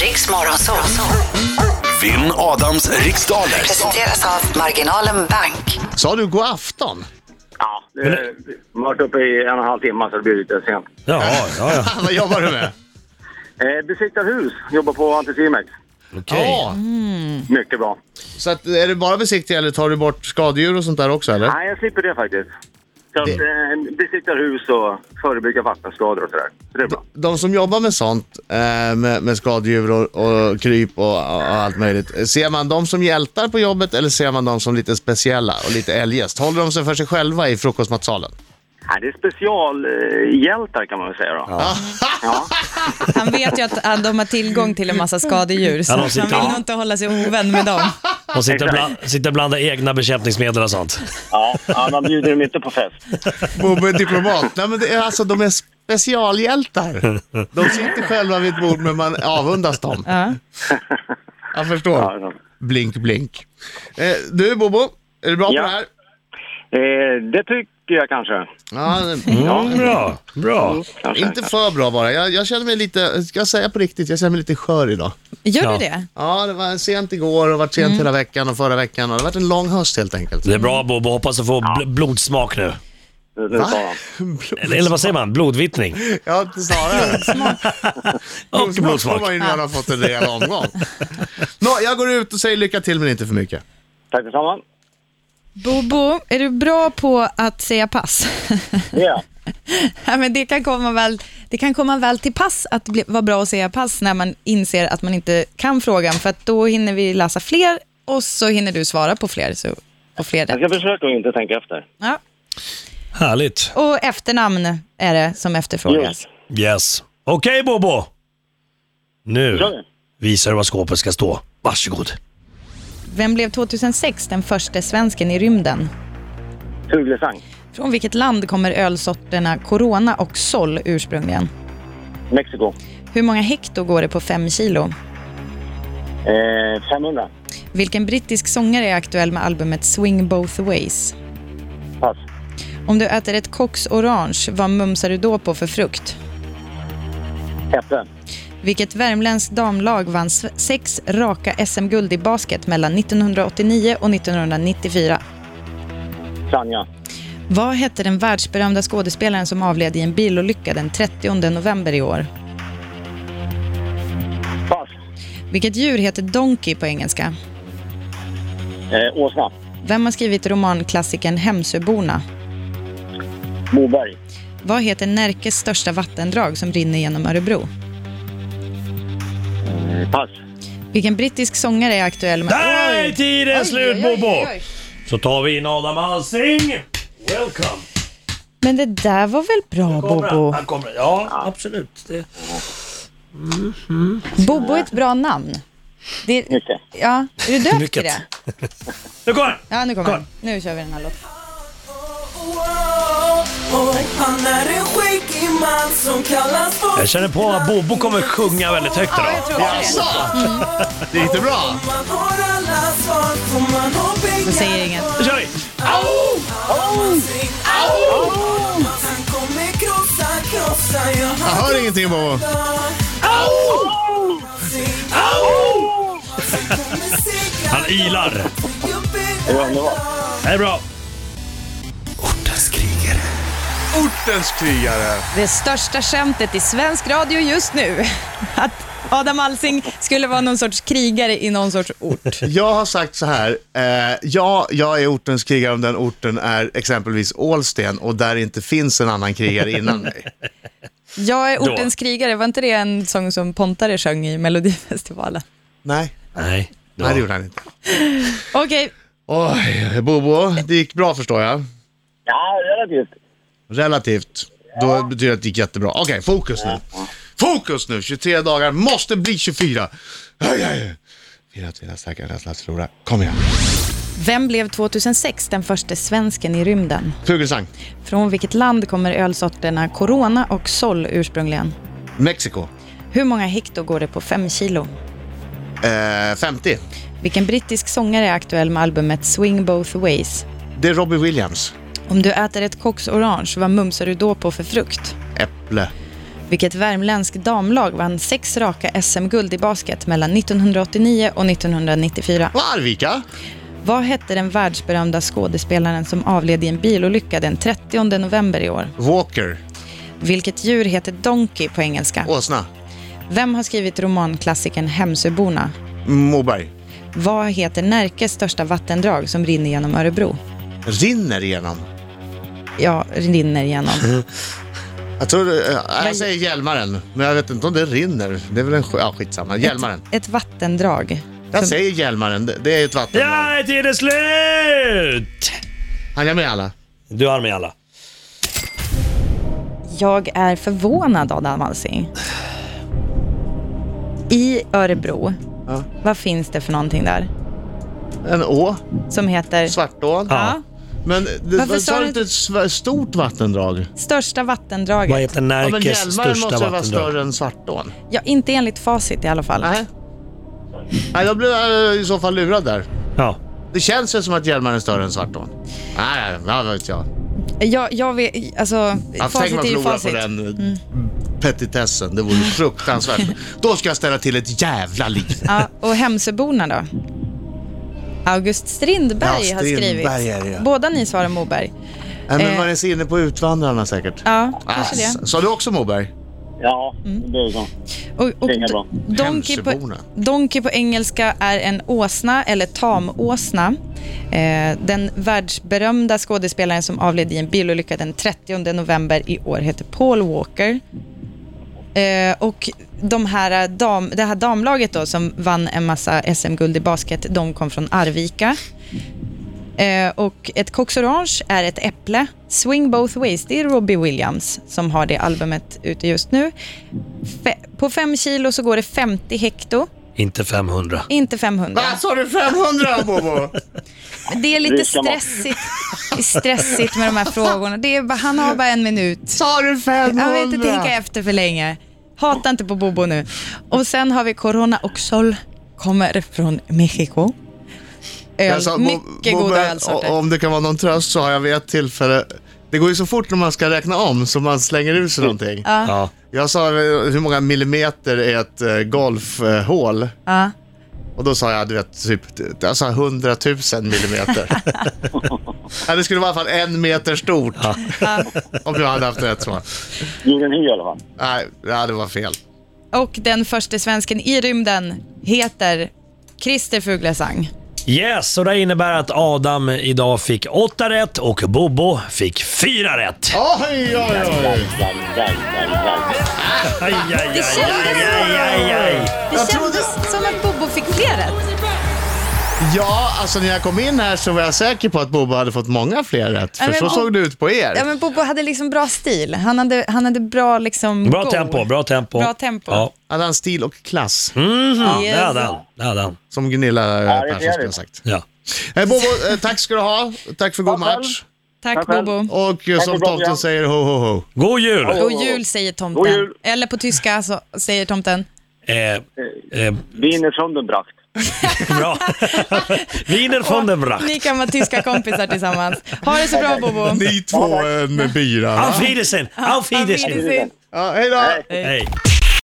Riks Morgonzoo. Vinn Adams riksdaler. Presenteras av Marginalen Bank. Sa du god afton? Ja, nu har jag varit uppe i en och en halv timme så det blir lite sent. Ja, ja, ja. Vad jobbar du med? Eh, besiktar hus, jobbar på Anticimex. Okej. Ja, Mycket bra. så att, är det bara besiktning eller tar du bort skadedjur och sånt där också eller? Nej, jag slipper det faktiskt. Så att, eh, besiktar hus och förebygga vattenskador och sådär. Så det är bra. De som jobbar med sånt, eh, med, med skadedjur och, och kryp och, och allt möjligt. Ser man dem som hjältar på jobbet eller ser man dem som lite speciella och lite eljest? Håller de sig för sig själva i frukostmatsalen? Nej, det är specialhjältar kan man väl säga då. Han vet ju att att de har tillgång till en massa skadedjur, så Ja, de han sitter- vill nog inte hålla sig ovän med dem. Och sitter bland, sitter blanda egna bekämpningsmedel och sånt. Ja, ja man bjuder dem inte på fest. Bobbe är diplomat. Nej men det är, alltså de är specialhjältar. De sitter själva vid ett bord men man avundas dem. Ja. Jag förstår. Ja, ja. Blink, blink. Eh, du Bobo, är du bra Ja. på det här? Eh, det tycker jag kanske. Ja, Ja, bra. Bra. kanske inte för bra bara. Jag, jag känner mig lite, ska jag säga på riktigt, jag känner mig lite skör idag. Gör Ja. du det? Ja, det var sent igår och varit sent hela veckan och förra veckan. Och det har varit en lång höst helt enkelt. Det är Mm. bra Bobo, hoppas du får bl- blodsmak nu. Det- det Va? sa han. Eller, eller vad säger man? Blodvittning. Ja, inte snarare. Och får blodsmak. man ju när man har fått en rejäl omgång. Nå, jag går ut och säger lycka till men inte för mycket. Tack detsamma. Bobo, är du bra på att säga pass? Ja. ja, men det, kan komma väl, det kan komma väl till pass att bli, vara bra att säga pass när man inser att man inte kan frågan, för att då hinner vi läsa fler och så hinner du svara på fler. Så, och fler Jag rätt. ska försöka att inte tänka efter. ja. Härligt. Och efternamn är det som efterfrågas. Jo. Yes. Okej Bobo. Nu Kör vi. visar du var skåpet ska stå. Varsågod. Vem blev 2006 den första svensken i rymden? Fuglesang. Från vilket land kommer ölsorterna Corona och Sol ursprungligen? Mexiko. Hur många hekto går det på 5 kilo? Eh, 500. Vilken brittisk sångare är aktuell med albumet Swing Both Ways? Pass. Om du äter ett Cox Orange, vad mumsar du då på för frukt? Äpple. Vilket värmländskt damlag vann s- sex raka SM-guld i basket mellan 1989 och 1994? Sanja. Vad hette den världsberömda skådespelaren som avled i en bilolycka den 30 november i år? Pass. Vilket djur heter Donkey på engelska? Eh, Åsna. Vem har skrivit romanklassikern Hemsöborna? Moberg. Vad heter Närkes största vattendrag som rinner genom Örebro? Eh, Pass. Vilken brittisk sångare är aktuell med... Där är tiden slut oj, oj, Bobo. oj. Så tar vi in Adam Alsing. Welcome. Men det där var väl bra, Kommer han? Bobo? Han kommer. Ja, absolut. Det... Bobo är ett bra namn. Det, Mycket. ja, är du döpt till Mycket. det? Nu kommer han. Ja, nu kommer Kom. den. Nu kör vi den här låten. Han är en skäggig man som kallas för Jag känner på att Bobo kommer sjunga väldigt högt Ja, idag. jag tror också det. Det är inte bra. Man har alla svar för man har pengar Jag säger inget. Nu kör vi! Au! Han kommer krossa, krossa Jag Jag hör ingenting Bobo. Au! kommer segra Han ilar. Det var underbart. Det är bra. Ortens krigare. Det största skämtet i svensk radio just nu. Att Adam Alsing skulle vara någon sorts krigare i någon sorts ort. Jag har sagt så här, eh, ja, jag är ortens krigare om den orten är exempelvis Ålsten och där inte finns en annan krigare innan mig. Jag är Då. ortens krigare, var inte det en sång som Pontare sjöng i Melodifestivalen? Nej, Nej. det var- nej det gjorde han inte. Okej, Oj, Bobo, det gick bra förstår jag. Ja, relativt. Relativt. Då betyder det att det gick jättebra. Okej, fokus nu. Fokus nu! 23 dagar, måste bli 24. Aj, aj. Fyra till nästa vecka, nästa att förlora. Kom igen. vem blev 2006 den första svensken i rymden? Fugelsang. Från vilket land kommer ölsorterna Corona och Sol ursprungligen? Mexiko. Hur många hekto går det på 5 kilo? Eh, 50. Vilken brittisk sångare är aktuell med albumet Swing Both Ways? Det är Robbie Williams. Om du äter ett Cox Orange, vad mumsar du då på för frukt? Äpple. vilket värmländsk damlag vann sex raka SM-guld i basket mellan 1989 och 1994. Och Arvika? Vad hette den världsberömda skådespelaren som avled i en bilolycka den 30 november i år? Walker? Vilket djur heter Donkey på engelska? Åsna? Vem har skrivit romanklassikern Hemsöborna? Moberg? Vad heter Närkes största vattendrag som rinner genom Örebro? Rinner igenom? Ja, rinner genom. Jag tror... eh, Jag säger Hjälmaren, men jag vet inte om det rinner. Det är väl en sjö... Ja, skitsamma. Hjälmaren. Ett vattendrag. Jag säger Hjälmaren, det, det är ju ett vatten. Ja, tiden är slut! Han jag med alla? Du har med alla. Jag är förvånad, Adam Alsing. I Örebro, vad finns det för någonting där? En å? Som heter... Svartån? Ja. Men det, Varför vad- sa sa du- du inte ett sv- stort vattendrag? Största vattendraget. Vad heter Ja, men Närkes Hjälmaren största måste ju vara vattendrag? större än Svartån. Ja, inte enligt facit i alla fall. Nej. Nej, då blev jag i så fall lurad där. Ja. Det känns ju som att Hjälmaren är större än Svartån. Nej, vad vet jag. Jag, jag vet, alltså, Ja, Tänk facit man är ju förlorar facit. på den mm. petitessen. Det vore ju fruktansvärt. Då ska jag ställa till ett jävla liv. Ja, och Hemsöborna då? August Strindberg Ja, har skrivit. Strindberg är det, ja. Båda ni svarar Moberg. Nej, men Eh. man är så inne på Utvandrarna säkert. Ja, kanske Ah, det. s- Sa du också Moberg? Ja, det är så. Och, och Inga bra. donkey, på, Hemsöborna. donkey på engelska är en åsna eller tamåsna. Eh, den världsberömda skådespelaren som avled i en bilolycka den 30 november i år heter Paul Walker. Eh, och de här eh, dam, det här damlaget då som vann en massa SM-guld i basket, de kom från Arvika. Eh, och ett Cox Orange är ett äpple. Swing Both Ways, det är Robbie Williams som har det albumet ute just nu. Fe- på 5 kilo så går det 50 hekto, Inte 500. inte 500. Ah, sa du 500 Bobo? Det är lite Rika man. stressigt, det är stressigt med de här frågorna. Det är, bara- han har bara en minut. Sa du 500? Jag vill inte tänka efter för länge. Hata inte på Bobo nu. Och sen har vi Corona och Sol kommer från Mexiko. Öl, Jag sa, Alltså, Bo- mycket Bobo, goda o- ölsorter. Om det kan vara någon tröst så har jag vid ett tillfälle, det går ju så fort när man ska räkna om så man slänger ut sig någonting. Ja. Jag sa eh, hur många millimeter är ett eh, golfhål? Ja. Och då sa jag, du vet, typ, jag sa 100 000 millimeter. ja, det skulle vara i alla fall en meter stort. Om jag hade haft rätt svar. Gjorde en i alla fall. Nej, ja, det var fel. Och den första svensken i rymden heter Christer Fuglesang. Yes, och det innebär att Adam idag fick 8 rätt och Bobo fick 4 rätt. Oj, oj, oj! Aj, aj, aj, Det aj, aj, aj, aj. Det kändes som att Bobo fick fler rätt. Ja, alltså när jag kom in här så var jag säker på att Bobo hade fått många fler rätt. För Ja, men så om- såg det ut på er. Ja, men Bobo hade liksom bra stil. Han hade, han hade bra liksom... Bra go. tempo, bra tempo. Bra tempo. Ja, Mhm. Hade han stil och klass, det Yes. hade han. Det hade han. som Gunilla eh, Mm. Ja, det är Persson skulle ha trevligt. sagt. Ja. Eh, Bobo, eh, tack ska du ha. Tack för god Ja, själv. match. Tack själv. Bobo. Och eh, Tack som för bra program. tomten säger, ho, ho, ho. God jul! God jul säger tomten. God jul. Eller på tyska så säger tomten. Eh, eh, Vinner som den brakt. bra. Wiener von dem Bracht. Ni kan vara tyska kompisar tillsammans. Ha det så bra Bobo. Ni två en bira. Auf Wiedersehen! Auf Wiedersehen! Wiedersehen. Ja, hej då! Hej.